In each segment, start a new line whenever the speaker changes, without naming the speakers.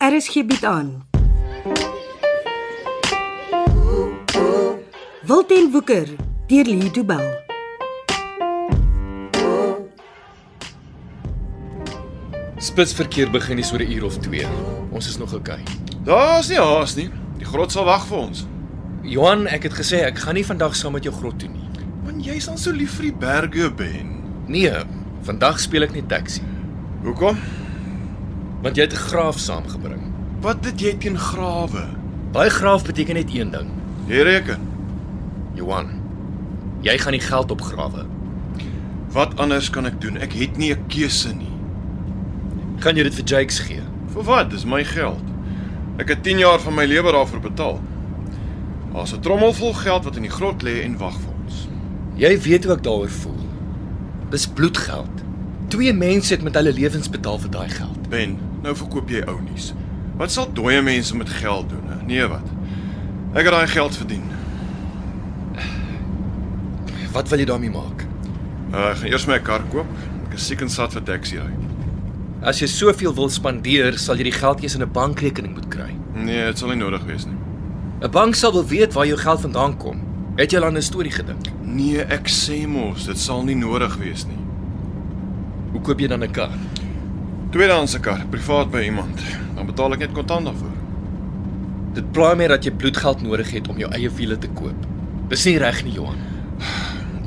RSG bied Er aan. Wilten Woeker deur Lee Du Bell.
Spitsverkeer begin hier oor 'n uur of 2. Ons is nog oukei. Okay.
Daar's nie haas nie. Die grot sal wag vir ons.
Johan, ek het gesê ek gaan nie vandag saam met jou grot toe nie.
Want jy's dan so lief vir die berge, Ben.
Nee, vandag speel ek nie taxi,
Hoekom?
want jy het 'n graaf saamgebring.
Wat het jy teen grawe?
Daai graaf beteken net een ding,
Jy reken.
Johan. Jy gaan die geld opgrawe.
Wat anders kan ek doen? Ek het nie 'n keuse nie.
Gaan jy dit vir Jakes gee?
Vir wat? Dis my geld. Ek het 10 jaar van my lewe daarvoor betaal. Daar's 'n trommel vol geld wat in die grot lê en wag vir ons.
Jy weet hoe ek daaroor voel. Dis bloedgeld. Twee mense het met hulle lewens betaal vir daai geld.
Ben, nou verkoop jy ou nuus. Wat sal dooie mense met geld doen? hè? Nee, wat? Ek het daai geld verdien.
Wat wil jy daarmee maak?
Uh, ek gaan eers my kar koop. Ek is siek en sat vir taxi ry.
As jy soveel wil spandeer, sal jy die geld eers in 'n bankrekening moet kry.
Nee, dit sal nie nodig wees nie.
'n Bank sal wil weet waar jou geld vandaan kom. Het jy al aan 'n storie gedink?
Nee, ek sê mos, dit sal nie nodig wees nie.
Hoe koop jy dan 'n kar?
Tweedehandse kar, privaat by iemand. Dan betaal ek net kontant daarvoor.
Dit pla my dat jy bloedgeld nodig het om jou eie wiele te koop. Dis nie reg nie, Johan.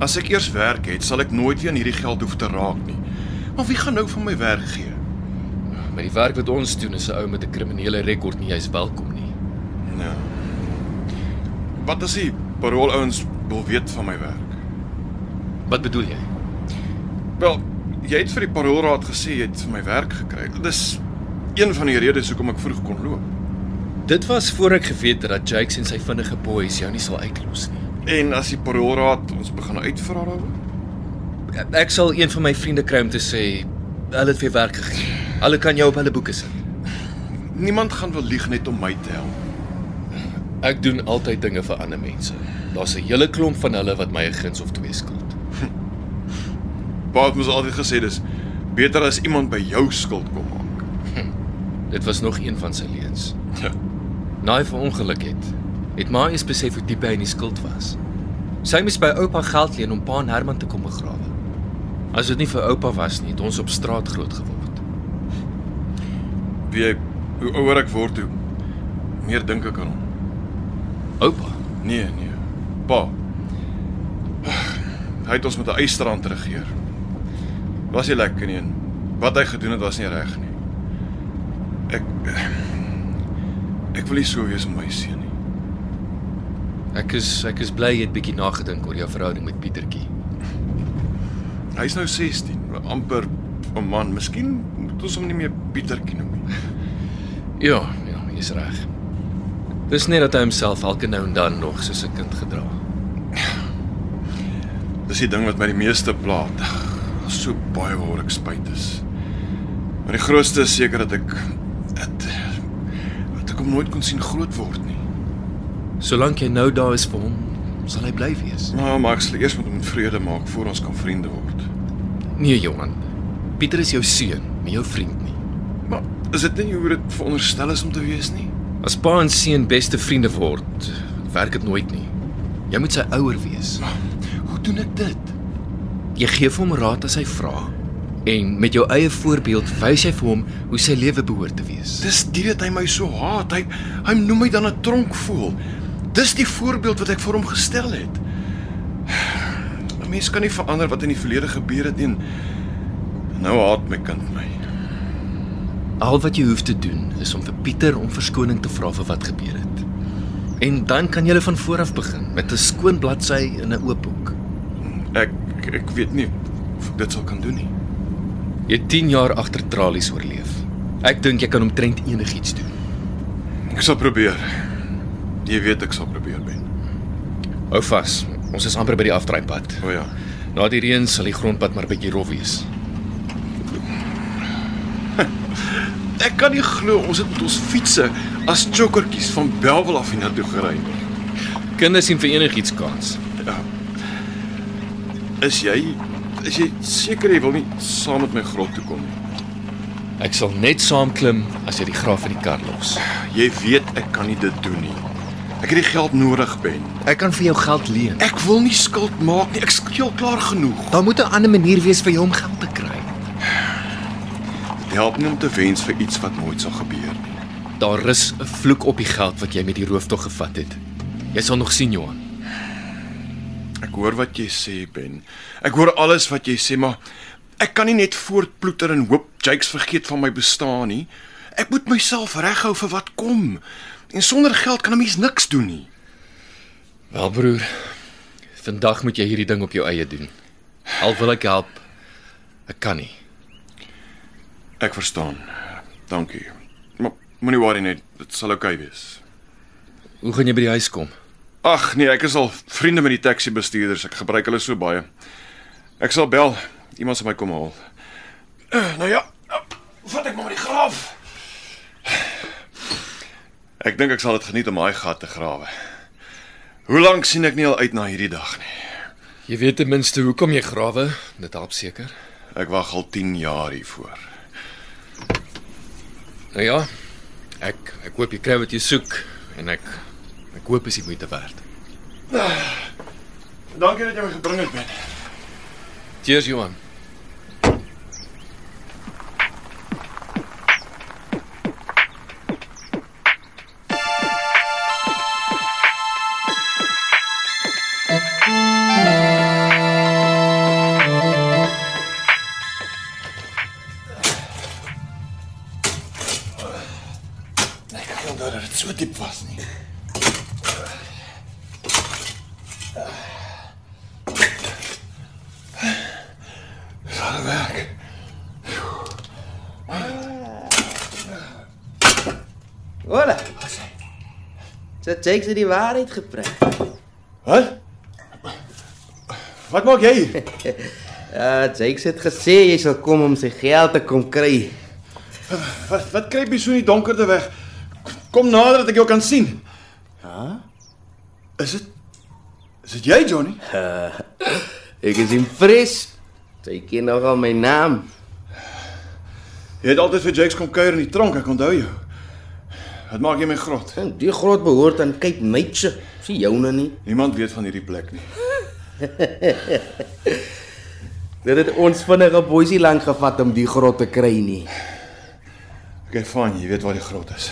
As ek eers werk het, sal ek nooit weer aan hierdie geld hoef te raak nie. Maar wie gaan nou vir my werk gee?
Met die werk wat ons doen is 'n ou met 'n kriminele rekord nie jy's welkom nie.
Nou. Wat as die paroolouens wil weet van my werk?
Wat bedoel jy?
Wel, jy het vir die paroolraad gesê jy het vir my werk gekry. Dis een van die redes hoekom ek vroeg kon loop.
Dit was voor ek geweet het dat Jakes en sy vinnige boeis jou nie sal uitlos nie.
En as die paroolraad ons begin uitvra daaroor?
Ek sal een van my vriende kry om te sê hulle het vir jou werk gegee. Hulle kan jou op hulle boeke sit.
Niemand gaan wil lieg net om my te help.
Ek doen altyd dinge vir ander mense. Daar's 'n hele klomp van hulle wat my 'n guns of twee skuld.
Pa het mos altyd gesê dis beter as iemand by jou skuld kom maak.
Dit was nog een van sy leuns.
Ja.
Na hy verongeluk het, het ma eens besef hoe diep hy in die skuld was. Sy moes by oupa geld leen om pa en Herman te kom begrawe. As dit nie vir oupa was nie, het ons op straat groot geword.
Wie jy hoe ouer ek word, hoe meer dink ek aan hom.
Oupa,
Nee, nee. Pa. Hy het ons met 'n eisterrand regeer. Was nie lekker nie. en Wat hy gedoen het was nie reg nie. Ek ek wil nie so wees met my seun nie.
ek is ek is bly jy het bietjie nagedink oor jou verhouding met Pietertjie.
Hy's nou 16, amper 'n man. Miskien moet ons hom nie meer Pietertjie noem nie.
Ja, ja, jy's reg. Dis net dat hy homself elke nou en dan nog soos 'n kind gedra.
Dis die ding wat my die meeste pla. Daar's so baie waar ek spyt is. Maar die grootste is seker dat ek dat dat ek hom nooit kon sien groot word nie.
Solank jy nou daar is vir hom, sal hy bly wees.
Maar Max, eers moet hom vrede maak voor ons kan vriende word.
Nee, Johan. Pieter is jou seun, nie jou vriend nie.
Maar is dit nie hoe dit veronderstel is om te wees nie?
As pa en seun beste vriende word, werk dit nooit nie. Jy moet sy ouer wees.
Hoe doen ek dit?
Jy gee vir hom raad as hy vra en met jou eie voorbeeld wys jy vir hom hoe sy lewe behoort te wees.
Dis dit dat hy my so haat. Hy hy noem my dan 'n tronkvoël. Dis die voorbeeld wat ek vir hom gestel het. 'n Mens kan nie verander wat in die verlede gebeur het nie. en Nou haat my kind my.
Al wat jy hoef te doen is om vir Pieter om verskoning te vra vir wat gebeur het. En dan kan jy van voor af begin met 'n skoon bladsy in 'n oop boek.
Ek ek weet nie of ek dit sal kan doen nie.
Jy het 10 jaar agter tralies oorleef. Ek dink jy kan omtrent enigiets doen.
Ek sal probeer. Jy weet ek sal probeer ben.
Hou vas. Ons is amper by die afdraaipad.
O ja.
Na die reën sal die grondpad maar bietjie rof wees.
Ek kan nie glo ons het met ons fietsse as chokkertjies van Belwel af hiernatoe gery nie.
Kinders sien vir enigiets kans.
Ja. Is jy is jy seker jy wil nie saam met my grot toe kom nie?
Ek sal net saamklim as jy die graf in die kar los.
Jy weet ek kan nie dit doen nie. Ek het die geld nodig, Ben.
Ek kan vir jou geld leen.
Ek wil nie skuld maak nie. Ek skeel klaar genoeg.
Daar moet 'n ander manier wees vir jou om geld te kry.
Dit help nie om te wens vir iets wat nooit sal gebeur nie.
Daar rus 'n vloek op die geld wat jy met die rooftog gevat het. Jy sal nog sien, Johan.
Ek hoor wat jy sê, Ben. Ek hoor alles wat jy sê, maar ek kan nie net voortploeter en hoop Jakes vergeet van my bestaan nie. Ek moet myself reghou vir wat kom. En sonder geld kan 'n mens niks doen nie.
Wel broer, vandag moet jy hierdie ding op jou eie doen. Al wil ek help, ek kan nie.
Ek verstaan. Dankie. Maar moenie worry net, dit sal oukei okay wees.
Hoe gaan jy by die huis kom?
Ag nee, ek is al vriende met die taxi bestuurders. Ek gebruik hulle so baie. Ek sal bel. Iemand sal my kom haal. Eh, Nou ja, eh, vat ek maar met die graf. Ek dink ek sal dit geniet om daai gat te grawe. Hoe lank sien ek nie al uit na hierdie dag nie.
Jy weet ten minste hoekom jy grawe, dit help seker.
Ek wag al 10 jaar hiervoor.
Nou ja, ek ek hoop jy kry wat jy soek en ek ek hoop is die moeite werd.
Dankie dat jy my gebring het, Ben.
Cheers, Johan.
Ek kan onthou dat dit so diep was nie. Sal werk.
Hola. Dit sê jy die waarheid gepraat.
Wat? Wat maak jy hier?
Ja, Jake het gesê jy sal kom om sy geld te kom kry.
Wat wat kruip jy so in die donkerte weg? Kom nader dat ek jou kan sien. Ja? Is dit Is dit jy, Johnny?
Ek is impressed. Jy ken nogal my naam.
Jy het altyd vir Jakes kom kuier in die tronk, ek onthou jou. Wat maak jy my grot?
En die groot behoort aan Cape Meitse. Sien joune nie.
Niemand weet van hierdie plek nie.
Dit het ons vinnige boesie lank gevat om die grot te kry nie.
Okay, fyn, jy weet waar die grot is.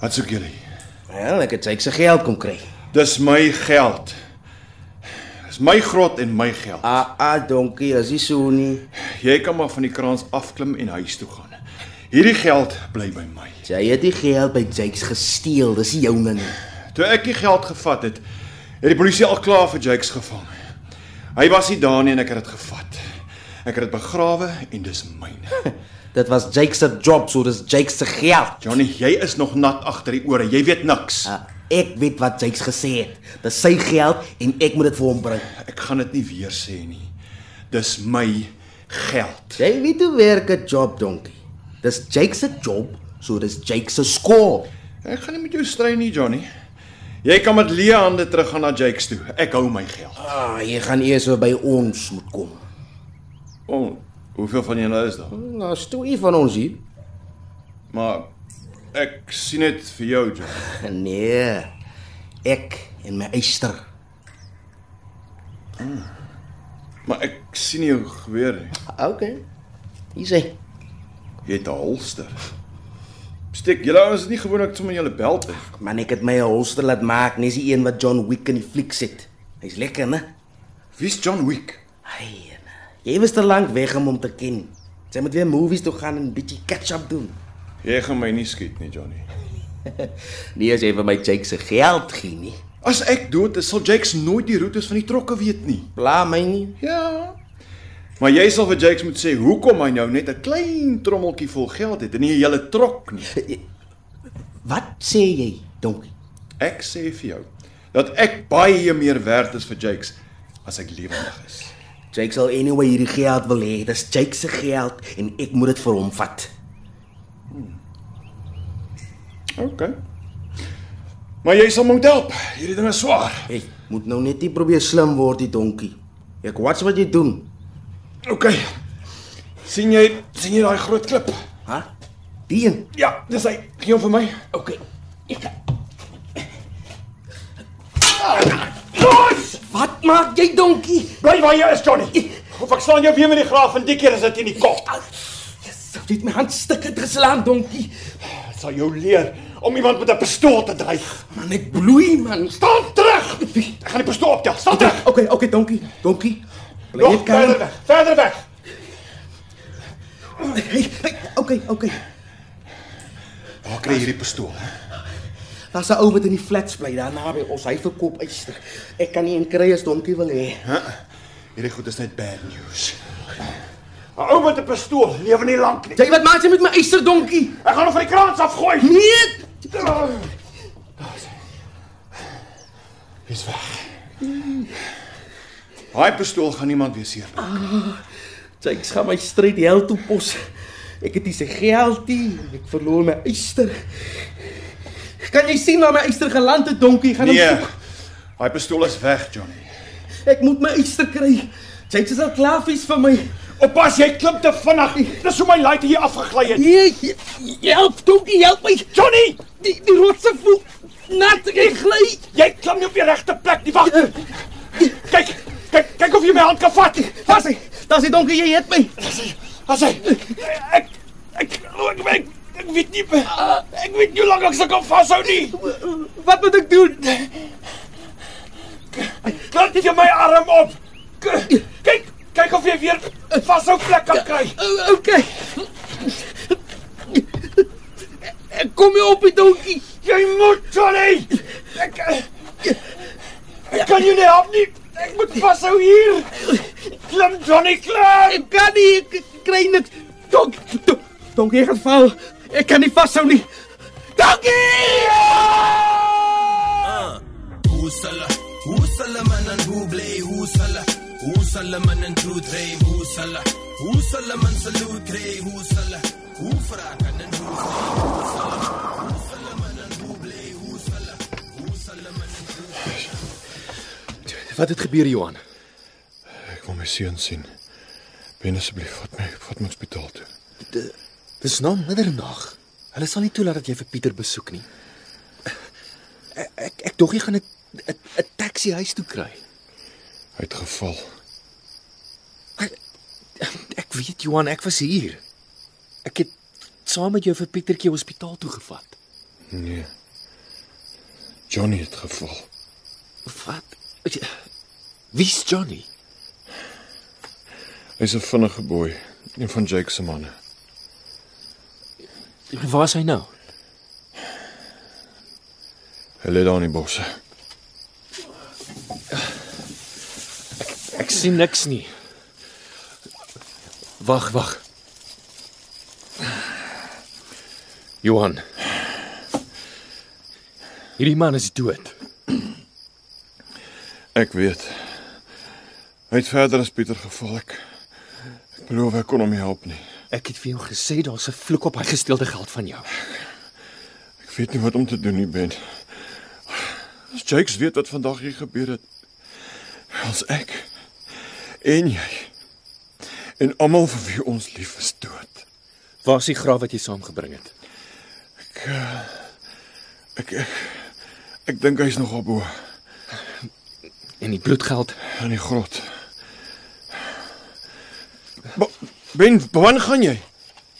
Wat soek julle? hier?
Wel, Ja, ek het Jake se geld kom kry.
Dis my geld. Dis my grot en my geld.
Ah, ah, donkie, as jy so nie.
Jy kan maar van die kraans afklim en huis toe gaan. Hierdie geld bly by my.
Jy het die geld by Jake gesteel. Dis nie joune nie.
Toe ek die geld gevat het, het die polisie al klaar vir Jakes gevang. Hy was nie daar nie en ek het dit gevat. Ek het dit begrawe en dis myne.
Dit was Jake se job, so dis Jake se geld.
Johnny, jy is nog nat agter die ore. Jy weet niks.
Ah, Ek weet wat Jakes gesê het. Dis sy geld en ek moet dit vir hom bring.
Ek gaan dit nie weer sê nie. Dis my geld.
Jy weet hoe werk 'n job, donkie. Dis Jakes se job, so dis Jakes se skool.
Ek gaan nie met jou stry nie, Johnny. Jy kan met leë hande teruggaan na Jakes toe. Ek hou my geld.
Ah, jy gaan eers weer by ons moet kom.
Oh, hoeveel van julle is daar?
Nou, stoe jy van ons hier?
Maar ek sien dit vir jou, Johnny.
Nee. Ek en my eyster.
Maar ek sien jou geweer. nie.
Okay. Hier sê.
Jy het 'n holster. Steek, julle ouens is nie gewoonlik sommer in julle belt in.
Man, ek het my 'n holster laat maak, nie die een wat John Wick in die fliek sit. Hy's lekker, né?
Wie's John Wick?
Ai. en, Jy was te lank weg om hom te ken. Jy moet weer movies toe gaan en 'n bietjie catch-up doen.
Jy gaan my nie skiet nie, Johnny.
Nee, as jy vir my Jake se geld gee nie.
As ek dood is, sal Jakes nooit die roetes van die trokke weet nie.
Pla my nie.
Ja. Maar jy sal vir Jakes moet sê hoekom hy nou net 'n klein trommeltjie vol geld het en nie 'n hele trok nie.
Wat sê jy, donkie?
Ek sê vir jou dat ek baie meer werd is vir Jakes as ek lewendig is.
Jake sal anyway hierdie geld wil hê. Dis Jake se geld en ek moet dit vir hom vat.
OK. Maar jy sal my moet help. Hierdie ding is swaar.
Hey, moet nou net nie probeer slim word, die donkie. Ek watch wat jy doen.
OK. sien jy sien jy daai groot klip?
Hæ? Die een.
Ja, dis hy. Gee hom vir my.
Okay. Ek kan.
Los!
Wat maak jy donkie?
Bly waar jy is, Johnny. Of ek slaan jou weer met die graaf en die keer is dit in die kop.
Jesus, jy het my hand stukke geslaan donkie.
Dit sal jou leer om iemand met 'n pistool te dreig.
Man, ek bloei man.
Staan terug. Ek gaan die pistool optel. Staan terug.
Ah, Okay, okay donkie. Donkie. Bly
Nog
net kalm.
verder weg. Verder weg.
Hey, hey, okay, okay.
Oh,
Waar kry jy hierdie pistool? hè?
Daar's 'n ou wat in die flats bly daar naby ons. Hy verkoop yster. Ek kan nie een kry as donkie wil hê.
Hierdie goed is net bad news.
'n Ou met 'n pistool lewe nie lank nie.
Jy wat maak jy met my yster donkie?
Ek gaan hom van die kraans afgooi.
Nee.
Hy's weg. Daai pistool gaan niemand weer seer. maak.
Jakes gaan my stryd die hel toe pos. Ek het nie sy geld nie. Ek verloor my yster. Kan jy sien waar my yster geland het, donkie? Gaan
Nee.
soek.
Daai pistool is weg, Johnny.
Ek moet my yster kry. Jakes is al klaar vies vir my.
Oppas, jy klim te vinnig. Dis hoe my laaitie hier afgegly het.
Nee, j- j- help donkie, help my.
Johnny,
Die die rotse voel nat en gly.
jy klim nie op die regte plek nie. Wag. Kyk, kyk, kyk of jy my hand kan vat. Vas.
Vas hy. Daar's die donkie, jy het my.
As hy ek ek ek ek, ek weet nie ek weet nie hoe lank ek se kan vashou nie.
Wat moet ek doen?
Laat jy my arm op. K- Kyk, kyk of jy weer vashou plek kan kry.
O- Okay. Ek kom hier op die donkie.
Jy moet Johnny. Ek Ek kan jou nie help nie. Ek moet vashou hier. Klim Johnny, klim.
Ek kan nie ek ek kry niks. Donk donk donk hier geval. Ek kan nie vashou nie. Donkie!
Hoesala, hoesala manan hoe bly hoesala. Hoesala manan toe drie hoesala. Hoesala man salut drie hoesala. Hoe vra kan en hoe
Wat het gebeur, Johan?
Ek wil my seun sien. Ben asseblief vat my vat my hospitaal toe.
Dis nou middernag. Hulle sal nie toelaat dat jy vir Pieter besoek nie. Ek ek, ek dog jy gaan 'n 'n 'n taxi huis toe kry.
Hy het geval.
Ek weet Johan, ek was hier. Ek het saam met jou vir Pietertjie hospitaal toe gevat.
Nee. Johnny het geval.
Wat? Wie's Johnny?
Hy's 'n vinnige boy, een van Jake se manne.
Waar is hy nou?
Hy lê daar in die bosse.
Ek sien niks nie. Wag, wag. Johan. Hierdie man is dood.
Ek weet. Hy het verder as Pieter geval. Ek, ek beloof ek kon hom nie help nie.
Ek het vir jou gesê daar's 'n vloek op hy gesteelde geld van jou.
Ek weet nie wat om te doen nie, Ben. As Jakes weet wat vandag hier gebeur het, as ek en jy en almal vir wie ons lief is dood.
Waar is die graaf wat jy saamgebring het?
Ek ek, ek dink hy's nog op bo
En die bloedgeld?
in die grot. Ba- Ben, waarheen gaan jy?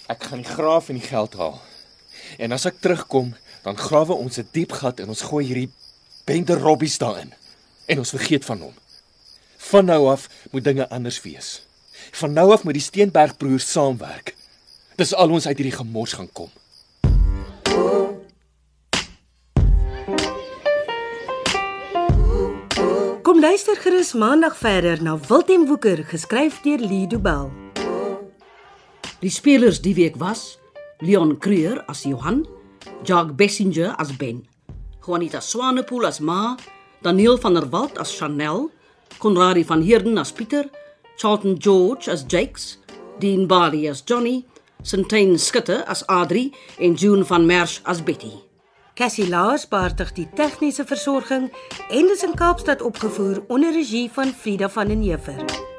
Ek gaan die graaf en die geld haal. En as ek terugkom, dan grawe ons 'n diep gat en ons gooi hierdie bende robbies daarin. En ons vergeet van hom. Van nou af moet dinge anders wees. Van nou af moet die Steenberg broers saamwerk. Dis al ons uit hierdie gemors gaan kom.
Kom luister gerus maandag verder na Wilten Woeker geskryf deur Lido Bell.
Die spelers die week was Leon Creer as Johan, Jacques Bessinger as Ben, Juanita Swanepoel as Ma, Daniel van der Walt as Chanel, Konradi van Heerden as Pieter, Charlton George as Jakes, Dean Bali as Johnny, Sintyn Skutte as Adri en June van Merch as Betty.
Cassie Lars beheerdig die tegniese versorging en dit is in Kaapstad opgevoer onder regie van Frida van den Heever.